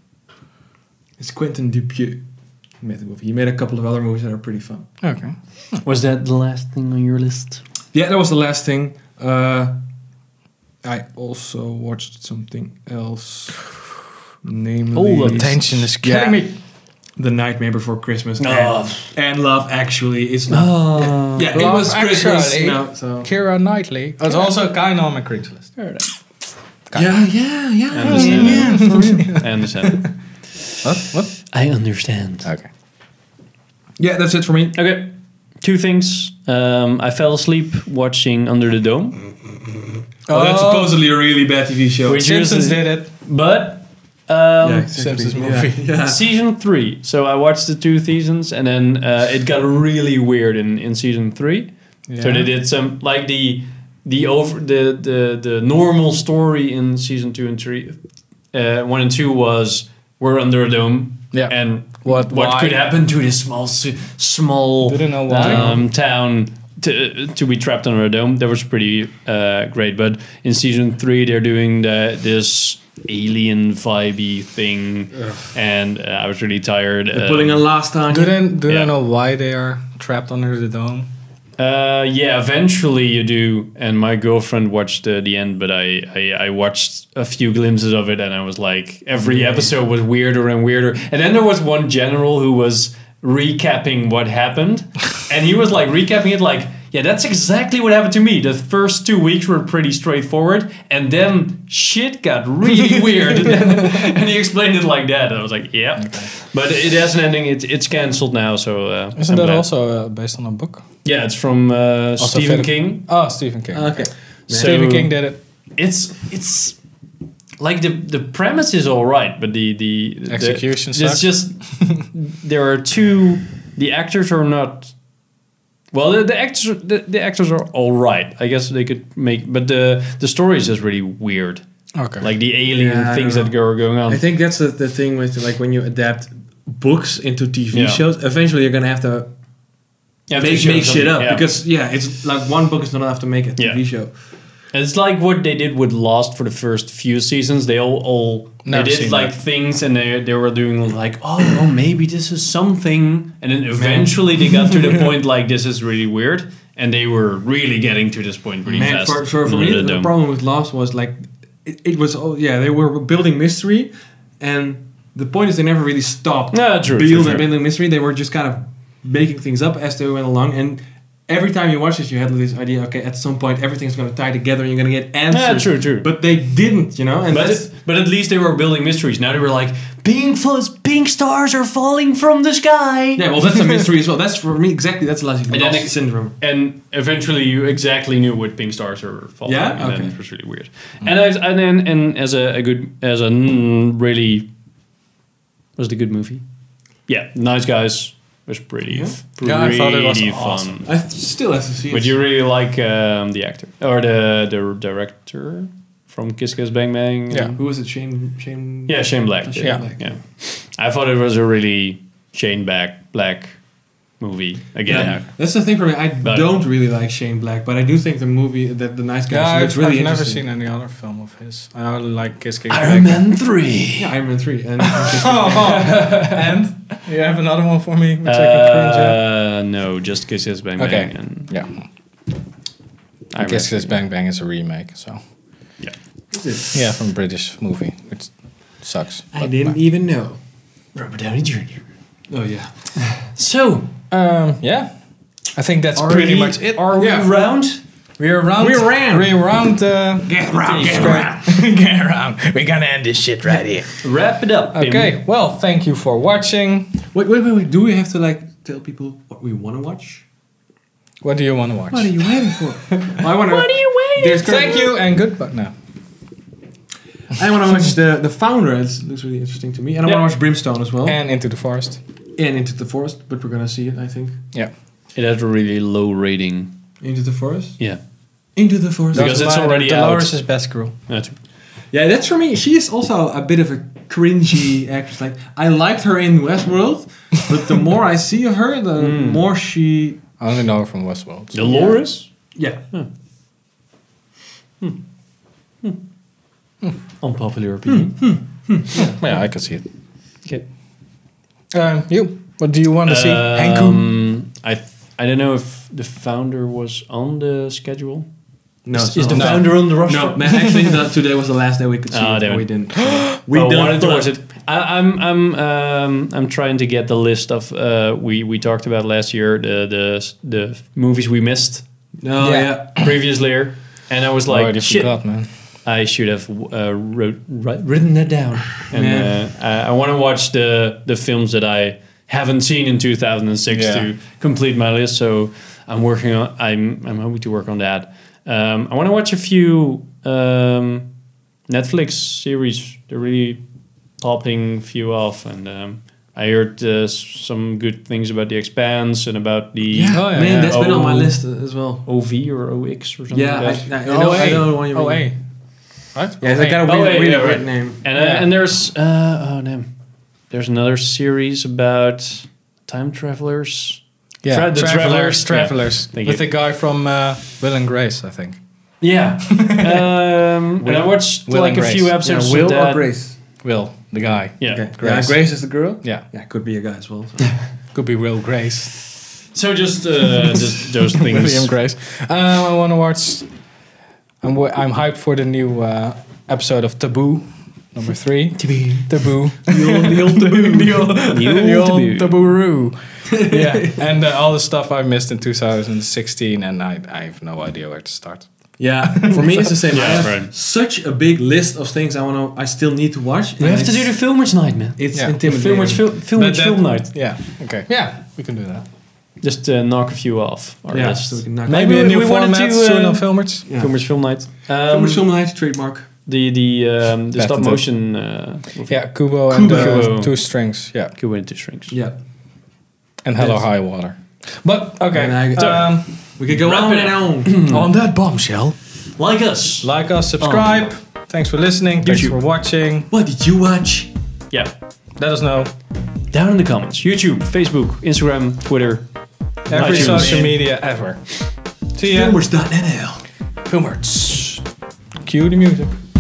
B: It's Quentin Dupieux who made the movie. He made a couple of other movies that are pretty fun.
A: Okay.
C: Was that the last thing on your list?
B: Yeah, that was the last thing. Uh, I also watched something else. Namely,
C: All the
A: Oh, Attention is
B: Yeah.
A: killing me.
B: The Nightmare Before Christmas
C: No.
B: and, and Love Actually. It's not.
C: Oh.
B: Yeah, it
A: Love
B: was Christmas.
A: Actually.
B: No, so.
A: Kira Knightley. It's also kind of on my Craigslist. Kind
B: Yeah, yeah, yeah.
C: I understand.
B: yeah, for real.
C: I understand.
A: What? What?
C: I understand.
A: Okay.
B: yeah, that's it for me.
C: Okay. Two things. Um, I fell asleep watching Under the Dome,
B: Oh, that's supposedly a really bad TV show.
C: Which-
A: Simpsons did it.
C: but
B: yeah,
C: um,
B: exactly.
A: Simpsons
B: Yeah,
A: movie.
B: Yeah.
C: season three. So I watched the two seasons, and then uh, it got really weird in, in season three. So they did some like the the over the the the normal story in season two and three. Uh, one and two was we're under a dome.
A: Yeah.
C: And
A: What-
C: what
A: why?
C: could happen to this small ci- small
A: Didn't know why.
C: um, town to, to be trapped under a dome? That was pretty uh, great. But in season three, they're doing the, this alien vibey thing, and uh, I was really tired.
B: They're
C: um,
B: putting a last on
A: Do
B: you.
A: they, do
C: Yeah.
A: they know why they are trapped under the dome?
C: Uh, yeah, eventually you do. And my girlfriend watched uh, the end, but I, I I watched a few glimpses of it, and I was like, every episode was weirder and weirder. And then there was one general who was recapping what happened, and he was like recapping it like. Yeah, that's exactly what happened to me. The first two weeks were pretty straightforward, and then shit got really weird. and he explained it like that. And I was like, "Yeah," but it has an ending. It, it's canceled now. So uh,
A: Isn't
C: I'm
A: that
C: glad.
A: also uh, based on a book?
C: Yeah, it's from uh,
A: Also
C: Stephen
A: Philip-
C: King.
A: Oh, Stephen King.
C: Uh,
B: Okay.
A: Stephen King did it.
C: It's it's like the the premise is all right, but the the the-
A: Execution
C: It's
A: sucks.
C: just there are two. The actors are not. Well, the, the actors the, the actors are all right. I guess they could make, but the the story is just really weird.
A: Okay.
C: Like the alien
B: Yeah, I
C: things
B: don't
C: that go- are going on.
B: I think that's the, the thing with like when you adapt books into TV
C: Yeah.
B: shows, eventually you're gonna have to
C: You have to
B: make,
C: show
B: make shit
C: something,
B: up
C: yeah.
B: because yeah, it's like one book is not enough to make a TV
C: Yeah.
B: show.
C: It's like what they did with Lost for the first few seasons. They all, all they
A: Never
C: did
A: seen
C: like
A: that.
C: things, and they they were doing like, oh, oh, maybe this is something, and then eventually they got to the point like this is really weird, and they were really getting to this point really
B: Man,
C: fast.
B: for, for, for
C: No,
B: me,
C: no,
B: the,
C: no.
B: problem with Lost was like it, it was oh yeah they were building mystery, and the point is they never really stopped
C: Yeah, true, true,
B: building
C: true.
B: building mystery. They were just kind of making things up as they went along and. Every time you watch this, you had this idea. Okay, at some point, everything's gonna tie together, and you're gonna get answers.
C: true, true.
B: But they didn't, you know. And
C: But,
B: that's,
C: it- but at least they were building mysteries. Now they were like, pink, fl- pink stars are falling from the sky.
B: Yeah, well, that's a mystery as well. That's for me exactly. That's like
C: And then
B: lost
C: it-
B: syndrome.
C: and eventually you exactly knew what pink stars were following.
B: Yeah?
C: and
B: Okay.
C: then it was really weird. And I, and then and as a, a good as a mm, really was it a good movie? Yeah, Nice Guys was pretty
B: Yeah?
C: f- pretty
A: Yeah, I thought it was
C: fun.
A: awesome.
B: I th- still have to see
C: But
B: it.
C: you really like um, the actor or the the director from Kiss Kiss Bang Bang?
A: Yeah.
B: Who was it? Shane. Shane.
C: yeah, Shane Black.
B: Oh, Shane
C: yeah.
B: Black.
C: yeah, I thought it was a really Shane Black Black movie again.
B: That's the thing for me. I
C: But-
B: don't really like Shane Black, but I do think the movie that the nice guy
A: yeah,
B: looks
A: I've,
B: really
A: I've never
B: interesting.
A: seen any other film of his. I only like Kiss Kiss Bang
C: Iron
A: Bang.
C: Man Three.
B: Yeah, Iron Man three and
A: oh. and you have another one for me, which I can cringe at.
C: Uh, no, just Kiss Kiss Bang
A: Okay.
C: Bang. And
A: Yeah,
C: I
A: Kiss
C: reckon-
A: Kiss Bang Bang is a remake, so
B: Is it?
A: yeah, from a British movie, which sucks.
B: I
A: but-
B: didn't even know.
C: Robert Downey Jr.
B: Oh yeah.
C: So,
A: Um, yeah, I think that's
C: are
A: pretty
C: we-
A: much it.
C: Are
B: Yeah.
C: we round?
A: We're around.
B: We ran.
A: We're around. Uh,
B: Get around,
A: things,
B: get
A: right? get around. We're gonna end this shit right here.
C: Wrap it up. Pim.
A: Okay. Well, thank you for watching.
B: Wait, wait, wait, wait. Do we have to like tell people what we want to watch?
A: What do you want to watch?
B: What are you waiting for? Oh, I want to. What are
C: you waiting
A: Thank you and goodbye. No.
B: I want to watch the the founder. It looks really interesting to me, and I
C: Yeah.
B: want to watch Brimstone as well, and,
A: And into the forest.
B: Into the Forest. But we're gonna see it, I think.
A: Yeah.
C: It has a really low rating.
B: Into the Forest.
C: Yeah.
B: Into the Forest.
C: Because
A: That's
C: it's
A: why
C: already out.
A: Dolores is best girl.
C: That's
B: Yeah, that's for me. She is also a bit of a cringy actress. Like I liked her in Westworld, but the more I see of her, the more she.
A: I only know her from Westworld.
C: Dolores?
B: Yeah.
C: Unpopular opinion.
A: Yeah, I could see it.
C: Okay.
A: Um, you. What do you want to see? Hanku.
C: Um, I th- I don't know if the founder was on the schedule.
B: No,
C: is
B: it's
C: is the
B: not. no.
C: founder on the roster?
B: No, man. Actually, that today was the last day we could see
C: Ah,
B: it.
C: damn
B: and
C: it.
B: We didn't. we
C: Well,
B: done
C: wanted to
B: thought-
C: watch it. I, I'm I'm um, I'm trying to get the list of uh, we we talked about last year the the the movies we missed
B: No,
A: Yeah.
B: yeah.
C: previous year, and I was like,
A: Already
C: shit,
A: forgot, man.
C: I should have uh, wrote, wri- written that down. And
B: Yeah.
C: uh, I, I want to watch the the films that I haven't seen in 2006
A: Yeah.
C: to complete my list. So I'm working on. I'm I'm hoping to work on that. Um, I want to watch a few um, Netflix series. They're really popping few off, and um, I heard uh, s- some good things about The Expanse and about the
B: Yeah,
A: Oh, yeah,
B: man,
A: yeah.
B: that's been on my
C: Oh.
B: list uh, as well.
C: OV or OX or something.
B: Yeah, I, I,
C: like that.
B: I, know, Oh, I know what you mean.
A: Oh, hey. Right?
B: Yeah, they got a
C: Oh,
B: weird,
C: hey,
B: really
C: yeah,
B: weird
C: right.
B: name.
C: And,
A: Yeah.
C: uh, and there's uh, oh damn, there's another series about time travelers.
A: yeah.
C: Tra- the
A: travelers,
C: Travelers.
A: travelers.
C: Yeah. Thank
A: With
C: you.
A: the guy from uh, Will and Grace, I think.
C: Yeah, um, and I watched
A: Will
C: like
A: and
C: a few
A: Grace.
C: episodes.
B: Will
C: with
B: or
C: that.
B: Grace?
A: Will, the guy.
C: Yeah.
B: Okay.
A: Grace.
B: Yeah, Grace is the girl?
A: Yeah,
B: Yeah, could be a guy as well. so.
A: could be Will Grace.
C: So just uh, just those
A: William
C: things.
A: Grace. Um, I want to watch. I'm, wa- I'm hyped for the new uh, episode of Taboo, number three. Taboo.
B: The old- the old dude.
A: the old, the
C: old
A: old
C: taboo.
A: taboo. yeah, and uh, all the stuff I missed in 2016, and I, I have no idea where to start.
B: Yeah, for me it's the same.
C: Yeah,
B: I have
C: right.
B: such a big list of things I want to, I still need to watch.
C: We
B: and
C: have to do
B: it's-
C: the filmers night, man.
B: It's
A: Yeah.
B: intimidating.
C: Film watch film film,
A: But
C: watch
A: that-
C: film night.
A: Yeah. Okay. Yeah, we can do that.
C: Just uh, knock a few off our
B: Yeah,
C: list.
B: so we can knock
A: Maybe
C: Maybe
A: a
C: we-
A: new
C: we wanted
A: format
C: to,
A: soon
C: uh,
A: on Filmers.
B: Yeah.
C: Filmers film night.
B: Film
C: Um,
B: watch film night trademark.
C: the the um, the stop
A: Patented.
C: motion. Uh, movie.
A: Yeah, Kubo and uh,
C: Kubo.
A: two strings. Yeah,
C: Cuba into shrinks.
B: Yeah,
A: and Hello
B: Yes.
A: High Water. But okay,
B: And I-
A: um,
B: we could go
C: Wrap
B: on
C: it
B: and on.
A: Hmm. on that bombshell.
C: Like us.
A: Like us, subscribe. Thanks for listening. Thanks for watching.
B: What did you watch?
C: Yeah.
A: Let us know.
C: Down in the comments. YouTube, Facebook, Instagram, Twitter.
A: Every
C: iTunes.
A: social media ever. See ya.
B: Filmers.nl.
A: Filmers. Cue the music.